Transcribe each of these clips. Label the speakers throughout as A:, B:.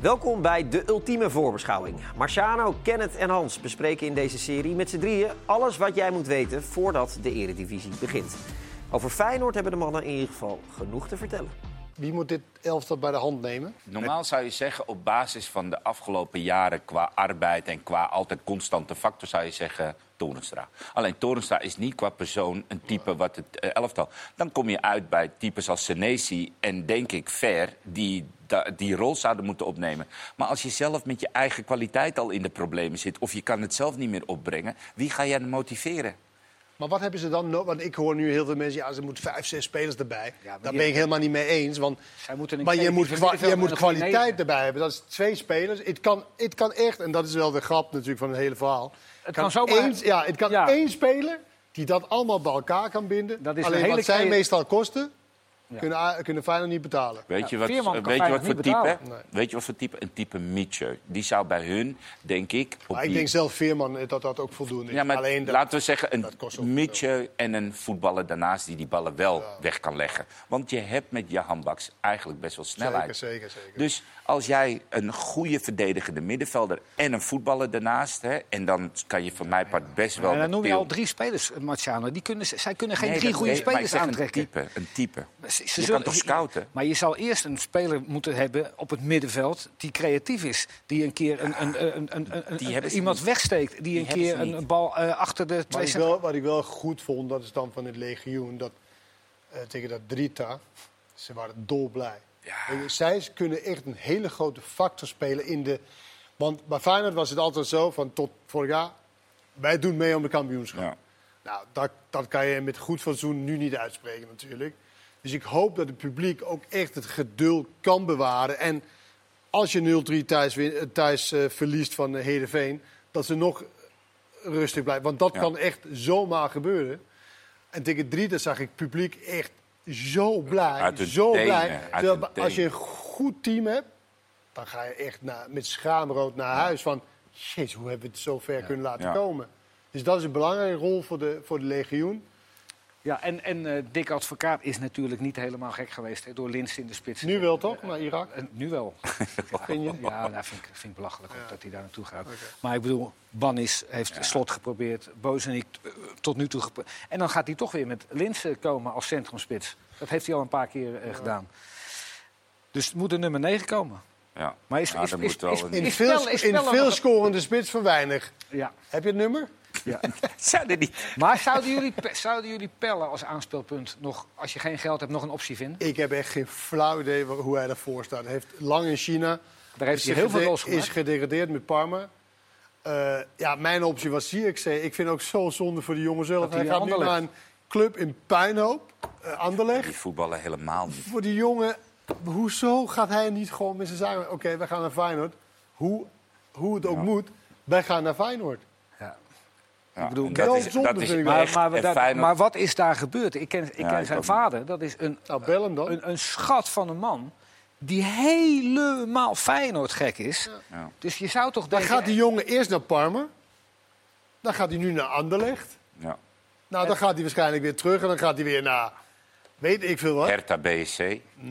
A: Welkom bij de ultieme voorbeschouwing. Marciano, Kenneth en Hans bespreken in deze serie met z'n drieën alles wat jij moet weten voordat de eredivisie begint. Over Feyenoord hebben de mannen in ieder geval genoeg te vertellen.
B: Wie moet dit elftal bij de hand nemen?
C: Normaal zou je zeggen, op basis van de afgelopen jaren qua arbeid en qua altijd constante factor, zou je zeggen Torenstra. Alleen Torenstra is niet qua persoon een type wat het eh, elftal. Dan kom je uit bij types als Senesi en denk ik Ver, die da- die rol zouden moeten opnemen. Maar als je zelf met je eigen kwaliteit al in de problemen zit, of je kan het zelf niet meer opbrengen, wie ga jij dan motiveren?
B: Maar wat hebben ze dan nodig? Want ik hoor nu heel veel mensen, ja, ze moeten vijf, zes spelers erbij.
D: Ja, maar
B: Daar
D: die-
B: ben ik helemaal niet mee eens. Want,
D: Zij moeten een
B: maar je
D: creatieve
B: moet, kwa-
D: middenvelder
B: je moet
D: en een goede
B: kwaliteit
D: negen.
B: erbij hebben. Dat is twee spelers. Het kan, het kan echt, en dat is wel de grap natuurlijk van het hele verhaal.
D: Het kan zomaar-
B: één, ja, het kan
D: Ja.
B: één speler die dat allemaal bij elkaar kan binden.
D: Dat is
B: Alleen
D: een hele
B: wat zij
D: crea-
B: meestal kosten, kunnen, kunnen Feyenoord niet betalen.
C: Weet je
D: Ja,
C: wat,
D: Veerman kan
C: weet je
D: Feyenoord
C: wat voor
D: niet
C: type?
D: betalen.
C: Weet je wat voor type? Een type Mitchell. Die zou bij hun, denk ik. Op
B: Maar ik
C: die-
B: denk zelf Veerman eh, dat dat ook voldoende is.
C: Ja, maar
B: Alleen dat-
C: laten we zeggen, een
B: dat kost ook
C: Mitje en een voetballer daarnaast die die ballen wel weg kan leggen. Want je hebt met je handbaks eigenlijk best wel
B: zeker,
C: snelheid.
B: zeker, zeker.
C: Dus als jij een goede verdedigende middenvelder en een voetballer daarnaast... Hè, en dan kan je voor mij part best wel...
D: En dan
C: met
D: noem je
C: Til-
D: al drie spelers, eh, Marciano. Die kunnen, ze- zij kunnen geen
C: Nee,
D: drie
C: dat-
D: goede
C: nee, maar ik
D: spelers
C: zeg
D: aantrekken.
C: Een type, een type.
D: Ze- ze
C: je
D: zullen-
C: kan toch scouten?
D: Maar je zou eerst een speler moeten hebben op het middenveld die creatief is. Die een keer een, een, een, een, een- een-
C: die hebben ze
D: iemand
C: niet.
D: wegsteekt. Die, een
C: hebben
D: keer
C: ze
D: een,
C: niet.
D: een bal eh, achter de
B: Wat
D: twee
B: ik, wel, wat ik wel goed vond, dat is dan van het legioen, dat eh, tegen dat Drita, ze waren dolblij. Weet je, Zij kunnen echt een hele grote factor spelen in de... Want bij Feyenoord was het altijd zo, van tot vorig jaar, wij doen mee om de kampioenschap.
C: Ja.
B: Nou, dat, dat kan je met goed fatsoen nu niet uitspreken natuurlijk. Dus ik hoop dat het publiek ook echt het geduld kan bewaren. En als je 0-3 thuis, win- eh, thuis eh, verliest van eh, Heerenveen... dat ze nog rustig blijven. Want dat
C: Ja.
B: kan echt zomaar gebeuren. En tegen drie, daar zag ik publiek echt zo blij.
C: Uit hun
B: Zo
C: tenen,
B: blij.
C: uit
B: Terwijl
C: hun
B: als je
C: tenen.
B: een goed team hebt, dan ga je echt naar, met schaamrood naar huis. Van, jezus, hoe hebben we het zo ver kunnen laten
C: Ja.
B: komen? Dus dat is een belangrijke rol voor de, voor de legioen.
D: Ja, en, en eh, Dick Advocaat is natuurlijk niet helemaal gek geweest hè, door Lins in de spits.
B: Nu wel toch, naar Irak?
D: En nu wel.
B: Vind je?
D: Ja, dat vind ik, vind ik belachelijk ook dat hij daar naartoe gaat. Maar ik bedoel, Bannis heeft slot geprobeerd. Bozenik eh, tot nu toe. gepro- En dan gaat hij toch weer met Linsen komen als centrumspits. Dat heeft hij al een paar keer eh, gedaan. Dus het moet een nummer 9 komen.
C: Ja.
D: Maar is-
C: Ja,
D: is-
C: dan
D: is-
C: moet wel
D: is-
C: een-
B: In
D: Is
B: veel,
D: Pelle- is
B: in
D: Pelle
B: veel
D: nog-
B: scorende spits van weinig.
D: Ja.
B: Heb je het nummer?
D: ja.
C: Zijn er niet...
D: maar zouden jullie, pe- zouden jullie Pellen als aanspeelpunt nog, als je geen geld hebt, nog een optie vinden?
B: Ik heb echt geen flauw idee wa- hoe hij daarvoor staat. Hij heeft lang in China.
D: Daar heeft
B: is
D: hij heel veel
B: gede-
D: goals gemaakt.
B: Is gedegradeerd met Parma. Eh, ja, mijn optie was CXC. Ik vind ook zo zonde voor de jongen zelf.
D: hij
B: Hij gaat nu
D: Anderlecht.
B: naar een club in puinhoop, eh,
C: Die
B: Anderlecht.
C: voetballen helemaal niet.
B: Voor die jongen, hoezo gaat hij niet gewoon met zijn zaken? Oké, wij gaan naar Feyenoord. Hoe, hoe het ook moet, wij gaan naar Feyenoord.
D: Ja.
C: Ja,
D: bedoel,
C: en dat, is,
B: doodzonde
C: dat is
B: vind ik wel.
D: Maar,
C: echt...
D: maar,
C: en
D: dat-
C: Feyenoord-
D: maar wat is daar gebeurd? Ik ken, ik ken
C: ik
D: zijn
C: ook
D: vader. Dat is een
B: Nou, bel hem dan.
D: een, een schat van een man die helemaal Feyenoord gek is.
C: Ja.
D: Dus je zou toch
B: Dan
D: denken...
B: gaat die jongen eerst naar Parma. Dan gaat hij nu naar Anderlecht.
C: Ja.
B: Nou, dan gaat hij waarschijnlijk weer terug en dan gaat hij weer naar... Weet ik veel wat.
C: Hertha BSC.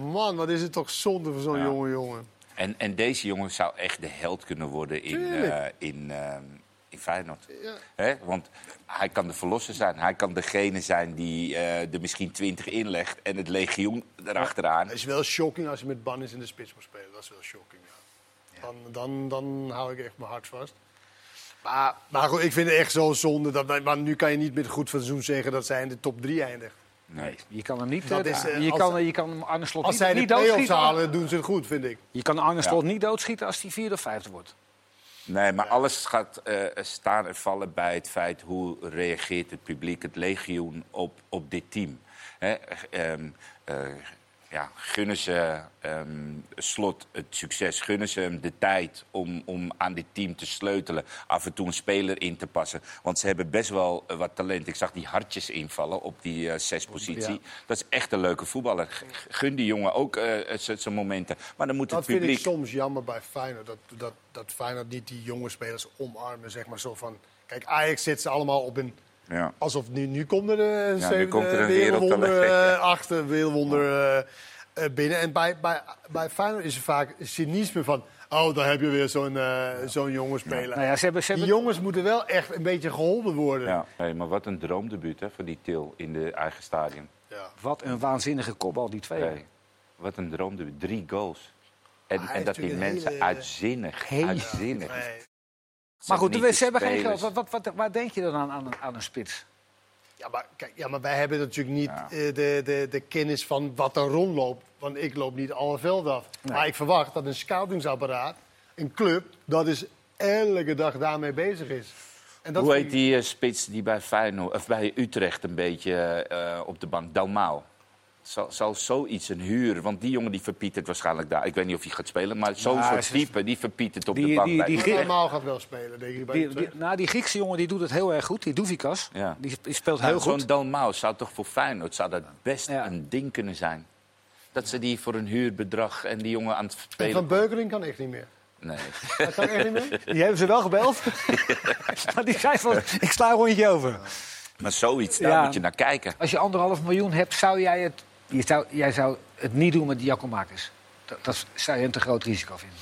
B: Man, wat is het toch zonde voor zo'n
C: Ja.
B: jonge jongen.
C: En, en deze jongen zou echt de held kunnen worden in,
B: Tuurlijk.
C: eh, in, eh, in Feyenoord. Hè? Want hij kan de verlosser zijn. Hij kan degene zijn die eh, er misschien twintig inlegt en het legioen erachteraan.
B: Het is wel shocking als je met Bannis in de spits moet spelen. Dat is wel shocking, ja. Dan, dan, dan hou ik echt mijn hart vast. Maar, maar goed, ik vind het echt zo zonde. Dat, wij- maar nu kan je niet met goed fatsoen zeggen dat zij in de top 3 eindigt.
C: Nee.
D: Je kan hem niet...
B: Dat
D: eh,
B: is, eh,
D: je,
B: als-
D: kan, je kan hem Arne Slot
B: Als zij
D: niet,
B: de
D: niet
B: play-offs
D: doodschieten.
B: halen, doen ze het goed, vind ik.
D: Je kan Arne Slot niet doodschieten als hij vierde of vijfde wordt.
C: nee, maar alles gaat eh, staan en vallen bij het feit hoe reageert het publiek, het legioen, op, op dit team. Hè? ehm, eh, ja, gunnen ze ehm, slot het succes, gunnen ze hem de tijd om, om aan dit team te sleutelen. Af en toe een speler in te passen. Want ze hebben best wel eh, wat talent. Ik zag die hartjes invallen op die eh, zespositie. Dat is echt een leuke voetballer. G- Gun die jongen ook eh, z- zijn momenten. Maar dan moet
B: Dat
C: het
B: vind ik
C: publiek.
B: soms jammer bij Feyenoord. Dat, dat, dat Feyenoord niet die jonge spelers omarmen, zeg maar zo van... Kijk, Ajax zit ze allemaal op een...
C: Ja.
B: Alsof nu, nu komt er een,
C: Ja, nu
B: zevende
C: komt er een
B: wereldwonder
C: wereldtalent.
B: eh, achter, wereldwonder eh, eh, binnen. En bij, bij, bij Feyenoord is er vaak cynisme van... oh, daar heb je weer zo'n eh, zo'n jongen spelen.
D: Nou ja, ze hebben- ze
B: Die
D: hebben-
B: jongens moeten wel echt een beetje geholpen worden.
C: Ja. Hey, maar wat een droomdebuut hè, voor die Til in de eigen stadion.
D: Wat een waanzinnige kopbal, die twee.
C: Hey, wat een droomdebuut. Drie goals. En,
D: Ah,
B: Maar hij
C: en
B: is
C: dat die
B: natuurlijk een
C: mensen
B: hele-
C: uitzinnig, uitzinnig.
B: Nee.
D: Maar goed,
C: Niet
D: we-
C: de
D: ze hebben geen
C: spelers.
D: geld. Wat, wat, wat, waar denk je dan aan, aan, een- aan een spits?
B: Ja, maar, kijk, ja, maar wij hebben natuurlijk niet
C: Ja.
B: eh, de, de, de kennis van wat er rondloopt. Want ik loop niet alle velden af. Maar ik verwacht dat een scoutingsapparaat, een club, dat is elke dag daarmee bezig is. En dat
C: Hoe
B: vind
C: heet
B: ik-
C: die eh, spits die bij, Feyenoord, of bij Utrecht een beetje eh, op de bank? Dalmau. Zal, zal zoiets een huur? Want die jongen die verpietert waarschijnlijk daar. Ik weet niet of hij gaat spelen, maar zo'n
D: Ja,
C: soort
D: ze-
C: type die verpietert op de
D: Die-
C: bank.
D: die-
C: bij
D: die-
C: Utrecht.
B: Normaal gaat wel spelen, denk ik. Bij
D: Die, die,
B: Utrecht.
D: nou, die Griekse jongen die doet het heel erg goed, die Doevikas.
C: Ja.
D: Die sp- die speelt
C: Nou,
D: heel goed.
C: Zo'n Dalmau zou toch voor Feyenoord zou dat best
D: Ja.
C: een ding kunnen zijn. Dat ze die voor een huurbedrag en die jongen aan het
B: En
C: spelen.
B: van Beukering kan echt niet meer.
C: Nee.
B: Hij kan echt niet meer.
D: Die hebben ze wel gebeld. maar die zei van, ik sla een rondje over.
C: Maar zoiets, daar
D: Ja.
C: moet je naar kijken.
D: Als je anderhalf miljoen hebt, zou jij het... Je zou, jij zou het niet doen met Giacomakis. Dat, dat zou je een te groot risico vinden.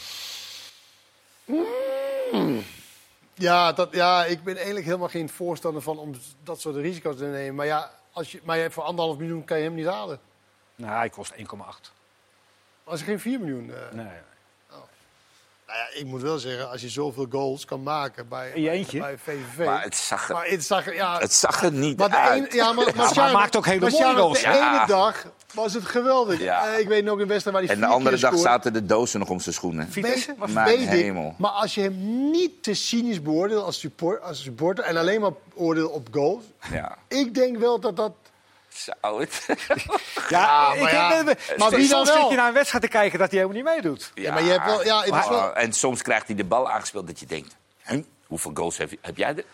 B: Ja, dat, ja, ik ben eigenlijk helemaal geen voorstander van om dat soort risico's te nemen. Maar ja, als je, maar ja, voor anderhalf miljoen kan je hem niet halen.
D: Nou, hij kost 1,8.
B: Als er geen 4 miljoen. eh,
D: Nee.
B: Nou ja, ik moet wel zeggen, als je zoveel goals kan maken bij,
D: In je eentje?
B: bij VVV.
C: Maar het zag er,
B: Maar het zag, ja,
C: het zag er niet
B: maar de
C: uit.
B: een- ja, maar, maar
D: hij
B: Sjaak-
D: maakt ook hele
B: maar
D: mooie
B: Sjaak,
D: goals,
B: De
C: hè? Ja.
B: ene dag was het geweldig.
C: Ja.
B: Eh, ik weet nog een wedstrijd waar hij
C: En de
B: vier
C: andere
B: keer
C: dag
B: scoort.
C: zaten de dozen nog om zijn schoenen.
D: Vitesse? Was
C: Mijn
B: Weet ik,
C: hemel.
B: Maar als je hem niet te cynisch beoordeelt als, support, als supporter en alleen maar oordeelt op goals.
C: Ja.
B: Ik denk wel dat dat.
C: Zou het?
D: Ja, ik
B: maar ja.
D: heb-
B: Maar wie dan
D: soms
B: wel?
D: zit je naar een wedstrijd te kijken dat hij helemaal niet meedoet.
B: Ja, maar je hebt wel- ja, het is wel-
C: En soms krijgt hij de bal aangespeeld dat je denkt... Huh? Hoeveel goals heb, je- heb jij er-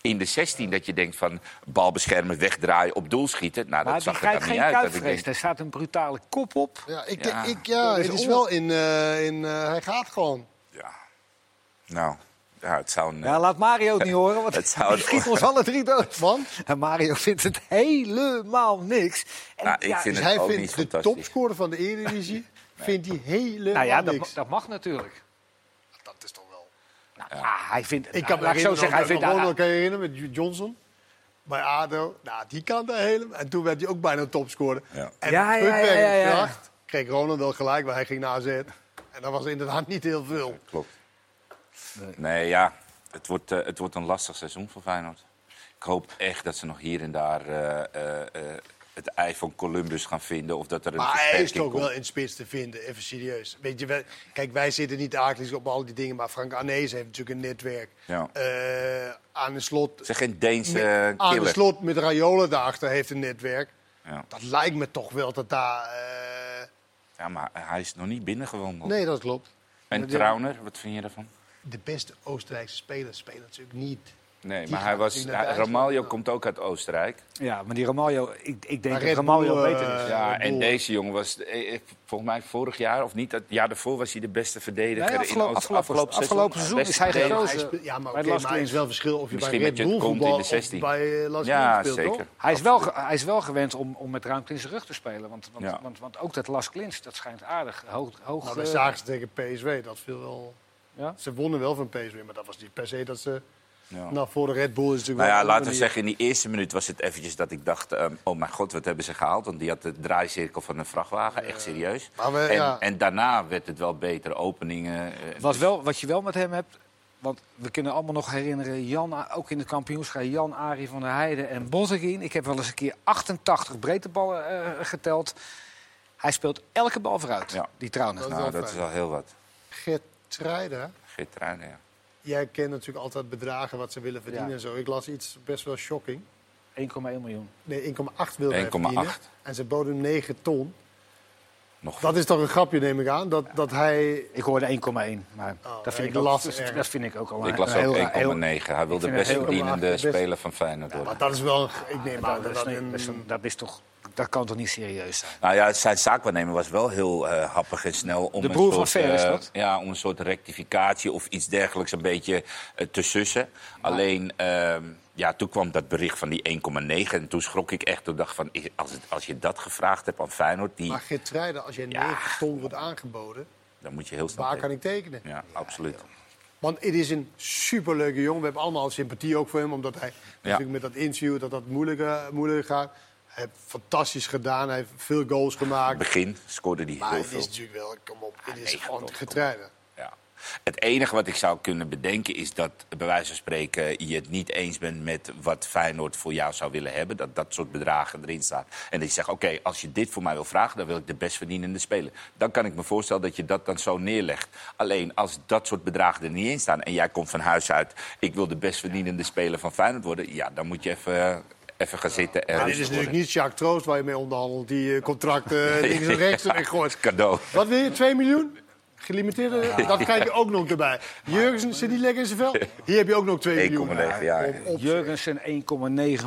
C: in de 16? Dat je denkt van bal beschermen, wegdraaien, op doel schieten. Nou, dat
D: Maar die
C: zag er
D: krijgt
C: dan niet
D: geen
C: uit. dat ik
D: kuitvrees.
C: denk,
D: Er staat een brutale kop op.
B: Ja, ik,
C: Ja.
B: Ik, ja
D: is
B: het is
D: on-
B: wel in. eh, in eh, hij gaat gewoon.
C: ja. Nou, ja, het zou een...
D: Ja, laat Mario het niet horen, want
C: Het zou-
D: hij schiet ons alle drie dood.
B: Want?
D: En Mario vindt het helemaal niks. En
C: Nou, ik vind
B: Dus
C: het
B: hij
C: ook niet
B: vindt de
C: fantastisch.
B: topscorer van de Eredivisie vindt hij helemaal
D: nou ja,
B: niks.
D: dat, dat mag natuurlijk.
B: dat is toch wel.
D: Nou, ah, hij vindt,
B: Ik
D: nou,
B: kan me
D: laat ik zo
B: herinneren,
D: zeggen, hij vindt...
B: Ronaldo
D: ah,
B: kan je herinneren met Johnson. Bij ADO, nou, die kan daar helemaal. En toen werd hij ook bijna topscorer.
C: Ja.
B: En
D: Ja,
B: met
D: ja,
B: Pukwerk
D: ja, ja, ja.
B: kracht kreeg Ronald wel gelijk, maar hij ging naar AZ. En dat was inderdaad niet heel veel.
C: Klopt. Nee, ja. Het wordt, eh, het wordt een lastig seizoen voor Feyenoord. Ik hoop echt dat ze nog hier en daar eh, eh, eh, het ei van Columbus gaan vinden. Of dat er een
B: Maar hij is
C: versterking
B: toch
C: komt.
B: wel in spits te vinden, even serieus. Weet je, wij- kijk, wij zitten niet akelig op al die dingen, maar Frank Arnees heeft natuurlijk een netwerk.
C: Ja.
B: Eh, aan de slot,
C: Het is geen Deense
B: met,
C: eh,
B: aan Ah, de
C: killer.
B: slot met Raiola daarachter heeft een netwerk.
C: Ja.
B: Dat lijkt me toch wel dat daar... eh,
C: ja, maar hij is nog niet binnengewandeld.
B: Nee, dat klopt.
C: En Trauner, wat vind je daarvan?
B: de beste Oostenrijkse spelers spelen natuurlijk niet.
C: Nee,
B: Die
C: maar hij
B: gaat
C: was,
B: natuurlijk
C: hij-
B: naar Duitsland.
C: Ramaljo komt ook uit Oostenrijk.
D: Ja, maar die Romaglio, ik, ik denk
B: Maar
D: dat
B: Red
D: Romaglio
B: Bull,
D: beter is.
B: eh,
C: ja,
B: ik
C: en
B: bedoel-
C: deze jongen was, eh, eh, volgens mij vorig jaar, of niet, het jaar daarvoor was hij de beste verdediger
D: Nee,
C: in Oost-
D: afgelopen- afgelopen seizoen
C: beste
D: is hij
C: verdediger.
D: gekozen.
B: Hij speel- ja, maar,
D: Bij
B: oké,
D: Las
B: maar er is
D: Klins.
B: wel verschil of je
C: Misschien
B: bij
C: met
B: Red
C: je
B: Bull
C: kont in de
B: voetbal of
C: 16.
B: bij eh, Las
C: Ja,
B: Klins speelt,
C: zeker.
B: toch?
D: Hij is, wel, ge- hij is wel gewend om, om met ruimte in zijn rug te spelen. Want, want,
C: Ja.
D: want, want ook dat Las Klins, dat schijnt aardig. Hoog, hoog,
B: Nou, wij
D: eh,
B: zagen ze tegen PSW, dat viel wel...
D: Ja?
B: Ze wonnen wel van PSW, maar dat was niet per se dat ze...
C: Ja.
B: Nou, voor de Red Bull is natuurlijk wel
C: Nou ja,
B: een
C: laten we
B: manier.
C: zeggen, in die eerste minuut was het eventjes dat ik dacht... ehm, oh mijn god, wat hebben ze gehaald? Want die had de draaicirkel van een vrachtwagen, echt serieus.
B: Maar we-
C: en,
B: ja.
C: en daarna werd het wel beter, openingen. eh,
D: Wat, wel, wat je wel met hem hebt, want we kunnen allemaal nog herinneren... Jan, ook in het kampioenschap, Jan, Arie van der Heijden en Botteguin. Ik heb wel eens een keer 88 breedteballen eh, geteld. Hij speelt elke bal vooruit,
C: Ja.
D: die trouwens.
B: Dat-
C: nou,
B: wel
C: dat
B: fijn.
C: is al heel wat.
B: Geert Treider,
C: Geert Ruijnen, ja.
B: jij kent natuurlijk altijd bedragen wat ze willen verdienen
D: Ja.
B: en zo. Ik las iets best wel shocking.
D: 1,1 miljoen.
B: Nee, 1,8 wilde hij
C: 1,8.
B: verdienen. En ze boden hem 9 ton.
C: Nog
B: Dat is toch een grapje, neem ik aan, dat, dat hij...
D: Ik hoorde 1,1, maar
B: Oh,
D: dat,
B: ja,
D: vind
B: ik
D: ik ook,
B: las
D: dat,
B: ergens.
D: dat vind ik ook al
C: ik
D: een-
C: las
D: een
C: ook 1,9.
D: heel- heel-
C: Hij wil de
D: vind het
C: best
D: heel
C: verdienende
B: laag, best-
C: speler van Feyenoord worden.
B: Maar dat is wel, een- ik neem
D: Nou,
B: aan
D: dat,
B: dat
D: is,
B: dat
D: nee,
B: een...
D: dat, is, dat is toch dat kan toch niet serieus zijn?
C: Nou ja, zijn zaakwaarnemer was wel heel eh, happig en snel. Om
D: De broer
C: een soort,
D: van Fer is
C: eh,
D: dat?
C: ja, om een soort rectificatie of iets dergelijks een beetje eh, te sussen. Alleen, ehm, ja, toen kwam dat bericht van die 1,9. En toen schrok ik echt. Toen dacht ik van, is- als, het- als je dat gevraagd hebt aan Feyenoord... Die,
B: Maar Gertruiden, als jij
C: Ja.
B: 9 ton wordt aangeboden,
C: dan moet je heel snel...
B: waar kan
C: tegen.
B: ik tekenen?
C: Ja, absoluut.
B: Want het is een superleuke jongen. We hebben allemaal sympathie ook voor hem. Omdat hij natuurlijk met dat interview dat dat moeilijker, moeilijker gaat. Hij heeft fantastisch gedaan. Hij heeft veel goals
C: In
B: gemaakt.
C: het begin scoorde die
B: Maar
C: heel
B: het
C: veel.
B: is natuurlijk wel, kom op, het is
C: negen
B: gewoon
C: ton,
B: getreinen.
C: Ja. Het enige wat ik zou kunnen bedenken is dat, bij wijze van spreken, je het niet eens bent met wat Feyenoord voor jou zou willen hebben. Dat dat soort bedragen erin staat. En dat je zegt, oké, als je dit voor mij wil vragen, dan wil ik de best verdienende speler. Dan kan ik me voorstellen dat je dat dan zo neerlegt. Alleen als dat soort bedragen er niet in staan en jij komt van huis uit, ik wil de best verdienende speler van Feyenoord worden. Ja, dan moet je even, eh, even gaan zitten. En
B: Maar dit
C: rustig
B: is natuurlijk
C: worden.
B: niet Jacques Troost waar je mee onderhandelt. Die eh, contracten eh, links en rechts
C: Ja.
B: gooit.
C: Cadeau.
B: Wat wil je, 2 miljoen? Gelimiteerde, dat krijg je ook nog erbij. Jurgensen zit niet lekker in zijn vel. Hier heb je ook nog 2 miljoen.
C: 1,9 jaar.
B: Op- op-
D: Jurgensen 1,9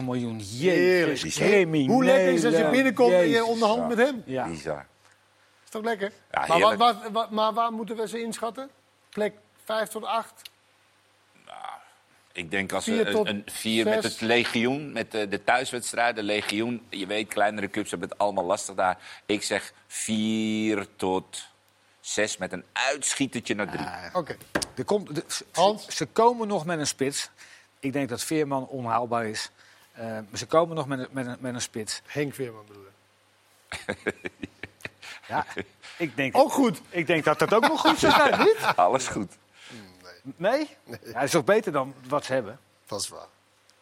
D: miljoen.
B: Heerlijk.
D: Jezus, crimineel.
B: Hoe lekker is het als je binnenkomt en je
D: Jezus.
B: onderhandelt met hem?
D: Ja.
C: Bizar.
B: Is toch lekker?
C: Ja,
B: maar, wat,
C: heerlijk.
B: wat, wat- maar waar moeten we ze inschatten? Plek 5 tot 8?
C: Ik denk als
B: Vier
C: we
B: tot
C: een, een vier met
B: zes.
C: het legioen, met de, de thuiswedstrijden, legioen. Je weet, kleinere clubs hebben het allemaal lastig daar. Ik zeg vier tot zes met een uitschietertje naar drie.
B: Oké.
D: Er komt, de- ze-
B: Hans?
D: Ze komen nog met een spits. Ik denk dat Veerman onhaalbaar is. Eh, maar ze komen nog met een, met een, met een spits.
B: Henk Veerman bedoel ik.
D: Ja, ik, denk,
B: Ook goed.
D: ik denk dat dat ook wel goed zou zijn, niet?
C: Alles goed.
D: Nee? Ja, dat is toch beter dan wat ze hebben?
B: Dat is waar.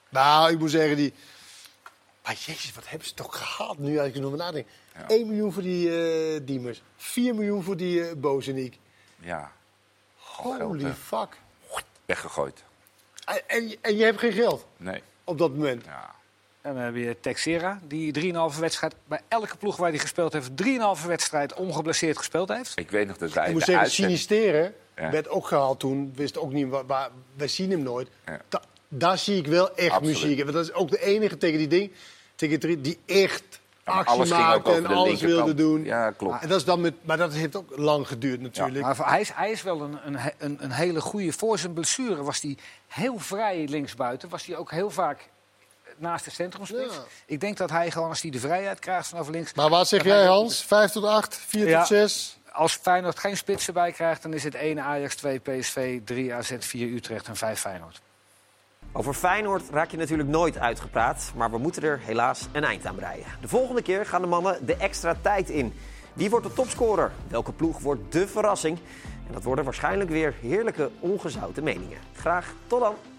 B: Nou, ik moet zeggen, die... Maar jezus, wat hebben ze toch gehaald nu als ik erover nadenk. 1 miljoen voor die eh, Diemers. 4 miljoen voor die eh, Bozeniek.
C: Ja, Oh, geld,
B: Holy
C: hè.
B: fuck.
C: weggegooid.
B: En, en, en je hebt geen geld
C: Nee.
B: op dat moment.
C: Ja.
D: En dan heb je Texera, die 3,5 wedstrijd... bij elke ploeg waar hij gespeeld heeft... 3,5 wedstrijd ongeblesseerd gespeeld heeft.
C: Ik weet nog dat wij
B: Ik
C: in
B: moet
C: de
B: zeggen,
C: uitzending-
B: Sinisteren
C: Ja.
B: werd ook gehaald toen. Wist ook niet waar, waar- wij zien hem nooit.
C: Ja.
B: Da- daar zie ik wel echt
C: Absoluut.
B: muziek. in. Want dat is ook de enige tegen die ding, tegen drie, die echt
C: Ja, maar
B: actie
C: alles ging ook
B: maakte
C: over
B: en
C: de
B: alles
C: linkerkant.
B: wilde doen.
C: Ja, klopt.
B: En dat is dan met, maar dat heeft ook lang geduurd natuurlijk.
D: Maar hij is, hij is wel een, een, he- een, een hele goede. Voor zijn blessure was hij heel vrij linksbuiten. Was hij ook heel vaak eh, naast de centrumspits.
B: Ja.
D: Ik denk dat hij gewoon, als hij de vrijheid krijgt vanaf links...
B: Maar wat zeg jij, Hans? 5 tot 8, 4
D: Ja.
B: tot 6?
D: Als Feyenoord geen spitsen bij krijgt, dan is het 1 Ajax, 2 PSV, 3 AZ, 4 Utrecht en 5 Feyenoord.
A: Over Feyenoord raak je natuurlijk nooit uitgepraat, maar we moeten er helaas een eind aan breien. De volgende keer gaan de mannen de extra tijd in. Wie wordt de topscorer? Welke ploeg wordt de verrassing? En dat worden waarschijnlijk weer heerlijke ongezouten meningen. Graag tot dan!